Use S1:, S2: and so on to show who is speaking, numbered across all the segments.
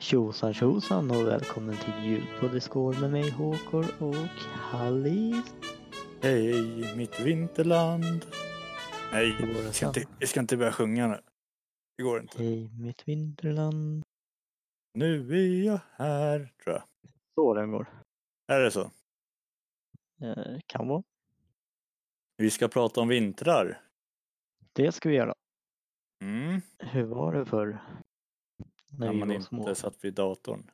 S1: Tjosan tjosan och välkommen till Ljudpodd i skål med mig Håkor och Hallis.
S2: Hej, mitt vinterland. Nej,
S1: Det vore
S2: vi ska, inte,
S1: samma.
S2: vi ska inte börja sjunga nu. Det går inte.
S1: Hej mitt vinterland.
S2: Nu är jag här, tror jag.
S1: Så den går.
S2: Är det så?
S1: Eh, kan vara.
S2: Vi ska prata om vintrar.
S1: Det ska vi göra.
S2: Mm.
S1: Hur var det förr? När
S2: När
S1: vi
S2: man
S1: var
S2: inte
S1: små.
S2: satt vid datorn.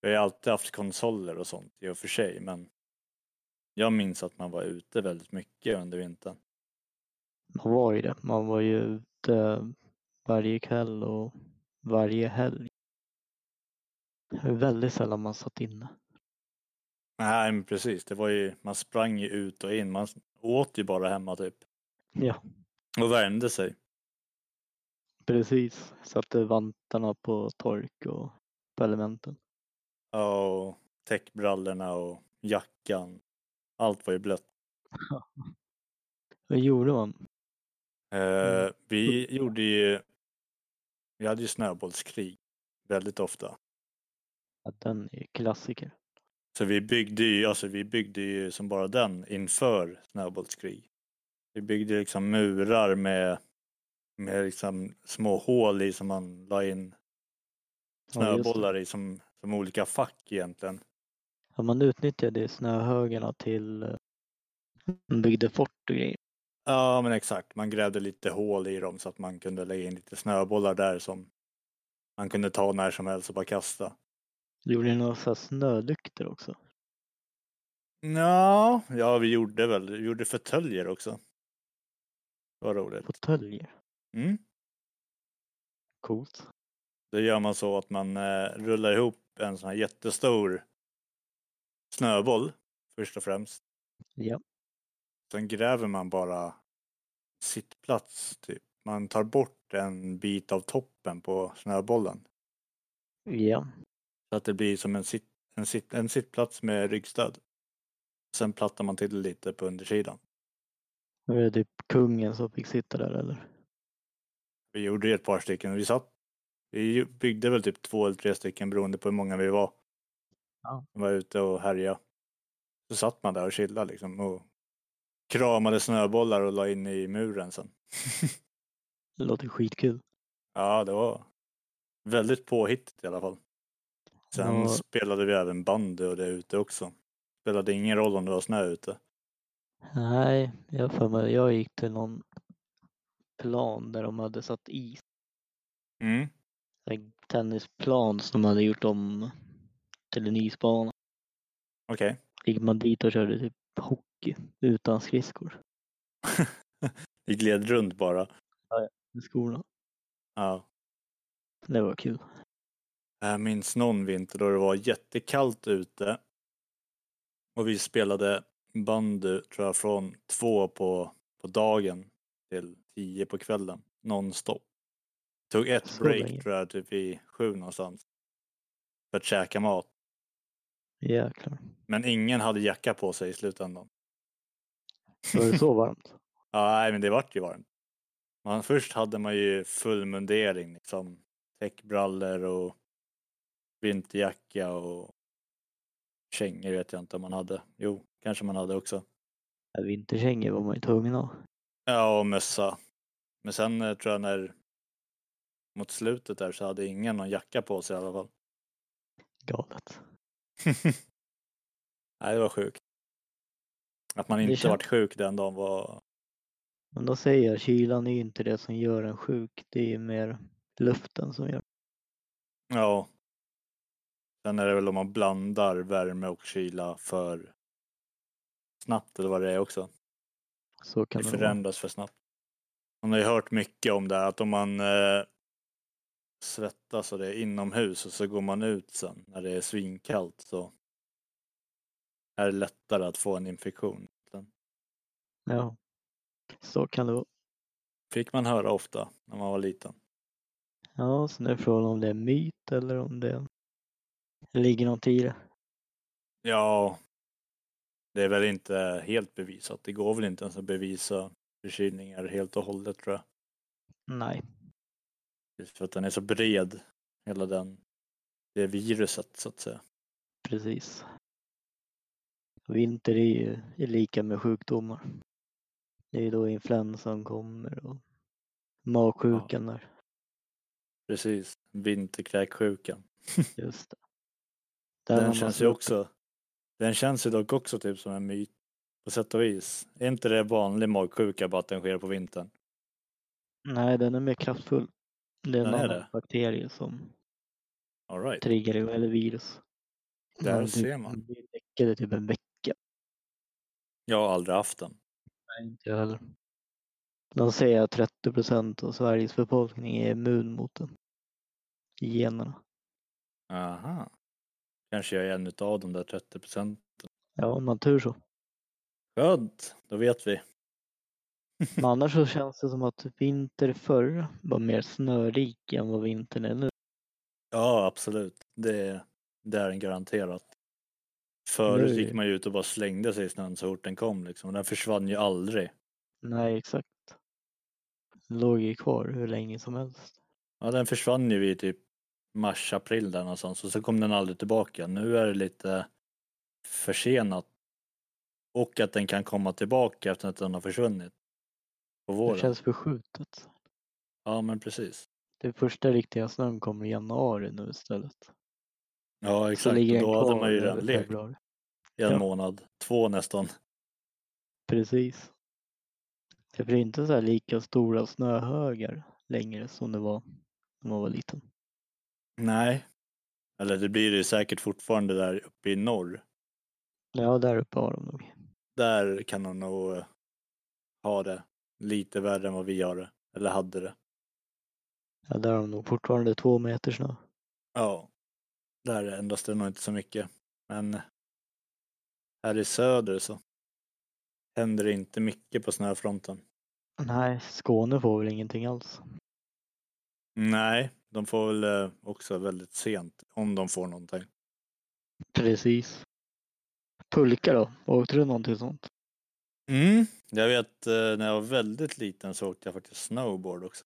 S2: Jag har ju alltid haft konsoler och sånt i och för sig, men jag minns att man var ute väldigt mycket under vintern.
S1: Man var ju det. Man var ju ute varje kväll och varje helg. Det var väldigt sällan man satt inne.
S2: Nej, men precis. Det var ju, man sprang ju ut och in. Man åt ju bara hemma typ.
S1: Ja,
S2: Och värmde sig.
S1: precis. Satte vantarna på tork och på elementen.
S2: Ja, och täckbrallorna och jackan. Allt var ju blött.
S1: Vad gjorde man?
S2: Eh,
S1: Mm.
S2: Vi gjorde ju, vi hade ju snöbollskrig väldigt ofta.
S1: Att den är klassiker.
S2: Så vi byggde ju, alltså vi byggde ju som bara den inför snöbollskrig. Vi byggde liksom murar med, med liksom små hål i som man la in
S1: Ja, just det.
S2: snöbollar i som, som olika fack egentligen.
S1: Ja, man utnyttjade snöhögarna till eh, man byggde fort och grejer.
S2: Ja men exakt, man grävde lite hål i dem så att man kunde lägga in lite snöbollar där som man kunde ta när som helst och bara kasta.
S1: Gjorde ni några så här snölyktor också?
S2: Ja, ja vi gjorde väl, vi gjorde förtöljer också. Vad roligt.
S1: Fåtöljer?
S2: Mm.
S1: Coolt.
S2: Då gör man så att man eh, rullar ihop en sån här jättestor snöboll först och främst.
S1: Ja.
S2: Sen gräver man bara sittplats typ. Man tar bort en bit av toppen på snöbollen.
S1: Ja.
S2: Så att det blir som en, sitt, en, sitt, en sittplats med ryggstöd. Sen plattar man till det lite på undersidan.
S1: Var det typ kungen som fick sitta där eller?
S2: Vi gjorde ju ett par stycken. Vi satt, vi byggde väl typ två eller tre stycken beroende på hur många vi var.
S1: Ja.
S2: Vi var ute och härjade. Så satt man där och chillade liksom och kramade snöbollar och la in i muren sen.
S1: Det låter skitkul.
S2: Ja, det var väldigt påhittigt i alla fall. Sen
S1: Ja.
S2: spelade vi även bandy och det ute också. Spelade ingen roll om det var snö ute.
S1: Nej, jag har för mig jag gick till någon plan där de hade satt is.
S2: Mm.
S1: En tennisplan som de hade gjort om till en isbana.
S2: Okej.
S1: Gick man dit och körde typ hockey utan skridskor
S2: Vi gled runt bara.
S1: i skolan.
S2: Ja.
S1: Det var kul.
S2: Jag minns någon vinter då det var jättekallt ute. Och vi spelade bandy, tror jag, från två på, på dagen till tio på kvällen. Nonstop. Tog ett
S1: Så
S2: break,
S1: länge.
S2: tror jag, typ i sju någonstans. För att käka mat.
S1: Jäklar.
S2: Men ingen hade jacka på sig i slutändan.
S1: Var det så varmt?
S2: Ja, nej, men det vart ju varmt. Man, först hade man ju full mundering, liksom. Täckbrallor och vinterjacka och kängor vet jag inte om man hade. Jo, kanske man hade också.
S1: Ja, Vinterkängor var man ju tvungen att ha.
S2: Ja, och mössa. Men sen eh, tror jag när mot slutet där så hade ingen någon jacka på sig i alla fall.
S1: Galet.
S2: nej, det var sjukt. Att man
S1: Det
S2: inte
S1: kän-
S2: vart sjuk den dagen var...
S1: Men då säger jag, kylan är ju inte det som gör en sjuk. Det är mer luften som gör
S2: Ja. Sen är det väl om man blandar värme och kyla för snabbt eller vad det är också.
S1: Så kan
S2: Det
S1: det vara.
S2: förändras för snabbt. Man har ju hört mycket om det här, att om man eh, svettas och det är inomhus och så går man ut sen när det är svinkallt så är det lättare att få en infektion.
S1: Ja. Så kan det vara.
S2: Fick man höra ofta när man var liten.
S1: Ja, sen är frågan om det är myt eller om det ligger något i det.
S2: Ja, det är väl inte helt bevisat. Det går väl inte ens att bevisa förkylningar helt och hållet tror jag.
S1: Nej.
S2: Just för att den är så bred, hela den det viruset så att säga.
S1: Precis. Vinter är ju är lika med sjukdomar. Det är då influensan kommer och magsjukan där.
S2: Precis, vinterkräksjukan.
S1: Just det. Där har
S2: Den
S1: man
S2: känns ju
S1: slut-
S2: också, den känns ju dock också typ som en myt på sätt och vis. Är inte det vanlig magsjuka bara att den sker på vintern?
S1: Nej, den är mer kraftfull. Det är en
S2: Den är
S1: annan
S2: det?
S1: bakterie som
S2: All right.
S1: triggar det, eller virus.
S2: Där
S1: Men
S2: ser
S1: typ-
S2: man.
S1: Det är däckade typ en vecka.
S2: Jag har aldrig haft den.
S1: Inte jag heller. De säger att 30 procent av Sveriges befolkning är immun mot den. I Generna.
S2: Aha. Kanske jag är en utav de där 30 procent.
S1: Ja, om man tur så.
S2: Skönt, då vet vi.
S1: Men annars så känns det som att vinter förr var mer snörik än vad vintern är nu.
S2: Ja, absolut. Det, det är en garanterat. Förut
S1: Nu-
S2: gick man ju ut och bara slängde sig i snön så fort den kom liksom. Den försvann ju aldrig.
S1: Nej, exakt. Låg ju kvar hur länge som helst.
S2: Ja, den försvann ju i typ mars, april där någonstans och så kom den aldrig tillbaka. Nu är det lite försenat. Och att den kan komma tillbaka efter att den har försvunnit. På
S1: Det
S2: våren.
S1: känns förskjutet.
S2: Ja, men precis.
S1: Den första riktiga snön kommer i januari nu istället.
S2: Ja,
S1: Så
S2: exakt.
S1: ligger
S2: Och
S1: den
S2: då hade
S1: kvar
S2: man ju
S1: över
S2: redan lekt
S1: februari.
S2: i en
S1: Ja.
S2: månad. Två nästan.
S1: Precis. Det blir inte så här lika stora snöhögar längre som det var när man var liten.
S2: Nej. Eller det blir det ju säkert fortfarande där uppe i norr.
S1: Ja, där uppe har de nog.
S2: Där kan de nog eh, ha det lite värre än vad vi har det. Eller hade det.
S1: Ja, där har de nog fortfarande två meter snö.
S2: Ja. Där ändras det nog inte så mycket. Men här i söder så händer det inte mycket på snöfronten.
S1: Nej, Skåne får väl ingenting alls.
S2: Nej, de får väl eh, också väldigt sent. Om de får någonting.
S1: Precis. Pulka då? Åkte du någonting sånt?
S2: Mm. Jag vet eh, när jag var väldigt liten så åkte jag faktiskt snowboard också.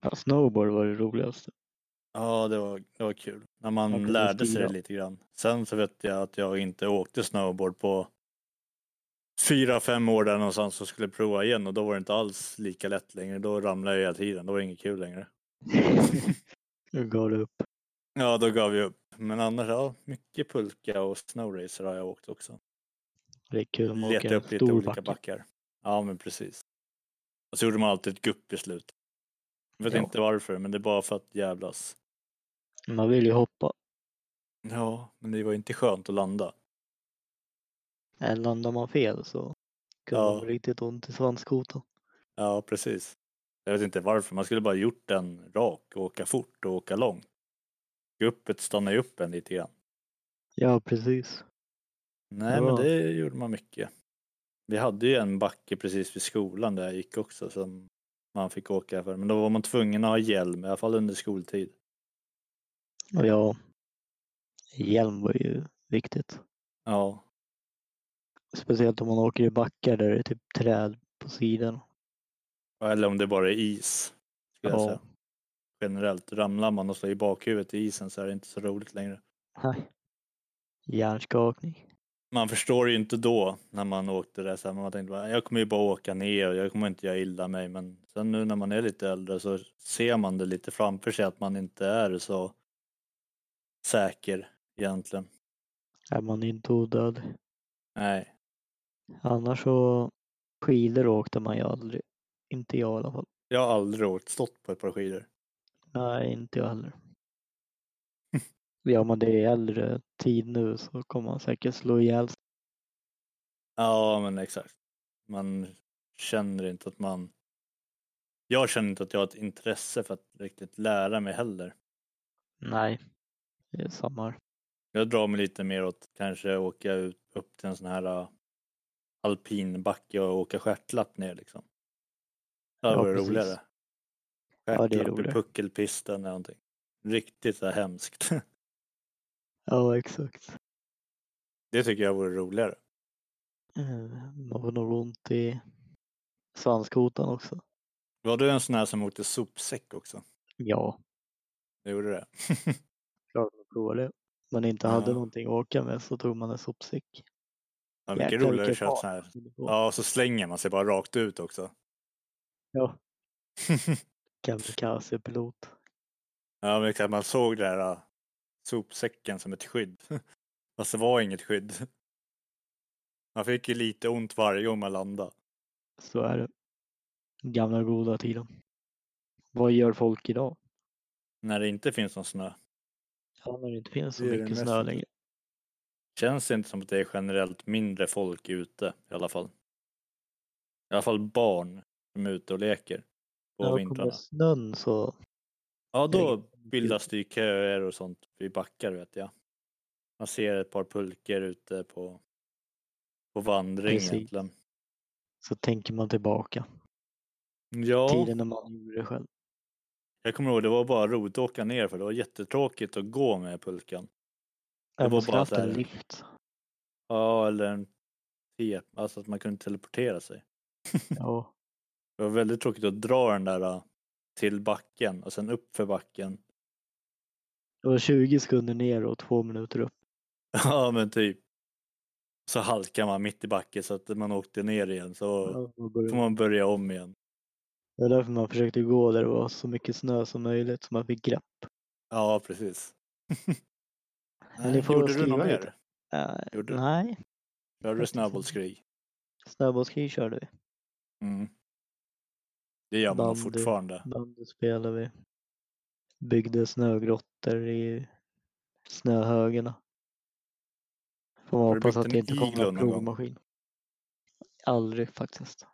S1: Ja, snowboard var det roligaste.
S2: Ja, det var, det var kul. När man
S1: Man kunde
S2: lärde sig
S1: styra.
S2: det lite grann. Sen så vet jag att jag inte åkte snowboard på fyra, fem år där någonstans och skulle prova igen och då var det inte alls lika lätt längre. Då ramlade jag hela tiden. Då var det inget kul längre.
S1: Nu gav du upp.
S2: Ja, då gav jag upp. Men annars, ja, mycket pulka och snowracer har jag åkt också.
S1: Det är kul att åka
S2: Leta
S1: en
S2: upp lite
S1: stor
S2: olika
S1: backe.
S2: backar. Ja, men precis. Och så gjorde man alltid ett gupp i slut. Jag vet
S1: Ja.
S2: inte varför, men det är bara för att jävlas.
S1: Man vill ju hoppa.
S2: Ja, men det var ju inte skönt att landa.
S1: Äh, Landar man fel så kan
S2: Ja.
S1: man få riktigt ont i svanskotan.
S2: Ja, precis. Jag vet inte varför. Man skulle bara gjort den rak och åka fort och åka långt. Guppet stannar ju upp en lite grann.
S1: Ja, precis.
S2: Nej,
S1: Ja.
S2: men det gjorde man mycket. Vi hade ju en backe precis vid skolan där jag gick också som man fick åka för. Men då var man tvungen att ha hjälm, i alla fall under skoltid. Mm.
S1: Och ja, hjälm var ju viktigt.
S2: Ja,
S1: Speciellt om man åker i backar där det är typ träd på sidan.
S2: eller om det bara är is. Skulle jag
S1: Ja.
S2: säga. Generellt, ramlar man och slår i bakhuvudet i isen så är det inte så roligt längre.
S1: Nej. Hjärnskakning.
S2: man förstår ju inte då när man åkte det så här, man tänkte bara, jag kommer ju bara åka ner och jag kommer inte göra illa mig men sen nu när man är lite äldre så ser man det lite framför sig att man inte är så säker egentligen.
S1: Är man inte odödlig.
S2: Nej,
S1: Annars så skidor åkte man ju aldrig. Inte jag i alla fall.
S2: jag har aldrig åkt stått på ett par skidor.
S1: Nej, inte jag heller. Gör man det i äldre tid nu så kommer man säkert slå ihjäl sig.
S2: Ja men exakt. Man känner inte att man jag känner inte att jag har ett intresse för att riktigt lära mig heller.
S1: Nej, det är samma. här.
S2: Jag drar mig lite mer åt kanske åka ut, upp till en sån här uh, alpin backe och åka stjärtlapp ner liksom. Det hade
S1: Ja,
S2: varit
S1: precis.
S2: roligare.
S1: Ja, det är
S2: Stjärtlapp i
S1: roligare.
S2: puckelpisten eller någonting. Riktigt så här hemskt.
S1: Ja, exakt.
S2: Det tycker jag vore roligare.
S1: Eh, Man får nog ont i svanskotan också.
S2: Var du en sån här som åkte sopsäck också?
S1: Ja,
S2: Det gjorde det?
S1: klar dålig. Man inte
S2: Ja.
S1: hade någonting att åka med så tog man en sopsäck.
S2: Ja, mycket
S1: Jäklar,
S2: roligare att
S1: vilket
S2: köra
S1: fart.
S2: sån här. Ja, och så slänger man sig bara rakt ut också.
S1: Ja. Kamikaze-pilot.
S2: ja, men exakt, man såg det här äh, sopsäcken som ett skydd. Fast det var inget skydd. Man fick ju lite ont varje gång man landade.
S1: Så är det. Gamla goda tiden. Vad gör folk idag?
S2: När det inte finns någon snö.
S1: Ja, när det inte finns så
S2: Det är det
S1: mycket snö
S2: mest-
S1: längre.
S2: Känns det inte som att det är generellt mindre folk ute i alla fall. I alla fall barn som är ute och leker på
S1: När det kommer
S2: vintrarna.
S1: snön så,
S2: Ja, då
S1: Tänk-
S2: bildas det ju köer och sånt vid backar vet jag. Man ser ett par pulker ute på, på vandring
S1: Precis.
S2: egentligen.
S1: så tänker man tillbaka.
S2: Ja,
S1: Tiden när man gjorde det själv.
S2: jag kommer ihåg det var bara roligt att åka ner för det var jättetråkigt att gå med pulkan.
S1: Jag
S2: var
S1: måste
S2: bara
S1: haft
S2: så här-
S1: en lift.
S2: Ja, eller en te, alltså att man kunde teleportera sig.
S1: Ja,
S2: Det var väldigt tråkigt att dra den där äh, till backen och sen upp för backen.
S1: det var 20 sekunder ner och två minuter upp.
S2: Ja, men typ. Så halkar man mitt i backen så att man åkte ner igen så
S1: Ja, då började
S2: får man börja om igen.
S1: Det var därför man försökte gå där det var så mycket snö som möjligt så man fick grepp.
S2: Ja, precis.
S1: Men ni får
S2: Gjorde du
S1: skriva
S2: något
S1: lite.
S2: mer?
S1: Eh,
S2: Gjorde du?
S1: nej,
S2: Körde du
S1: faktiskt
S2: snöbollskrig?
S1: snöbollskrig körde vi.
S2: Mm. Det gör man nog
S1: Bandy.
S2: fortfarande.
S1: Bandy spelade vi. Byggde snögrottor i snöhögarna. Får man
S2: Har du
S1: hoppas att
S2: byggt en
S1: det inte kommer
S2: iglo
S1: någon
S2: någon gång?
S1: plogmaskin. Aldrig faktiskt.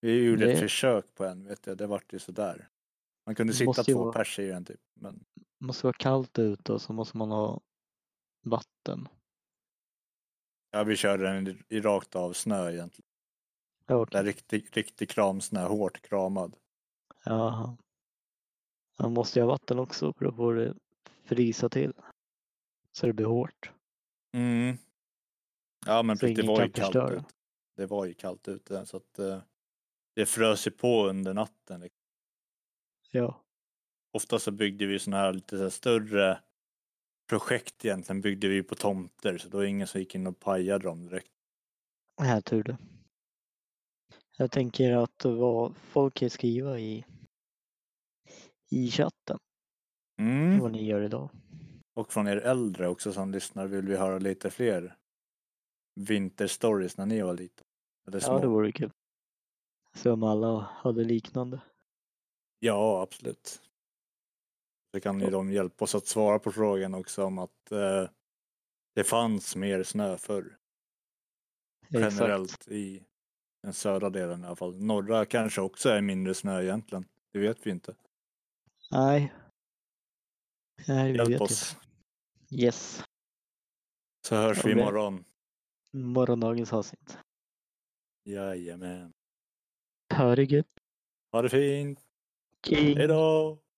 S2: Vi gjorde ett
S1: Det-
S2: försök på en, vet jag. Det vart ju sådär. Man kunde
S1: Det
S2: sitta
S1: måste ju
S2: två
S1: vara-
S2: pers i den typ. Men
S1: Måste vara kallt ute och så måste man ha vatten.
S2: ja, vi körde den i, i rakt av snö egentligen.
S1: Ja,
S2: Där
S1: okej.
S2: riktig, riktig kramsnö, hårt kramad.
S1: Jaha. Man måste ju ha vatten också för då får det frysa till. Så det blir hårt.
S2: Mm. Ja, men
S1: Så
S2: precis, det
S1: ingen
S2: var ju
S1: kan
S2: kallt
S1: förstöra.
S2: ute. Det var ju kallt ute så att eh, det frös ju på under natten. Liksom.
S1: Ja,
S2: ofta så byggde vi såna här lite så här större projekt egentligen byggde vi på tomter så då var det ingen som gick in och pajade dem direkt.
S1: här tur det. Jag tänker att vad folk kan skriva i, i chatten
S2: Mm.
S1: vad ni gör idag.
S2: Och från er äldre också som lyssnar vill vi höra lite fler vinterstories när ni var liten. Eller små.
S1: Ja, det vore kul. Se om alla hade liknande.
S2: ja absolut. Så kan ju de hjälpa oss att svara på frågan också om att eh, det fanns mer snö förr. Generellt i den södra delen i alla fall. Norra kanske också är mindre snö egentligen. Det vet vi inte.
S1: Nej. Nej, vi vet
S2: Hjälp
S1: oss.
S2: oss.
S1: inte. Yes.
S2: Så hörs vi
S1: Okej.
S2: imorgon.
S1: Morgondagens avsnitt.
S2: Jajamän.
S1: Ha det gött.
S2: Ha det fint.
S1: King.
S2: Hej då!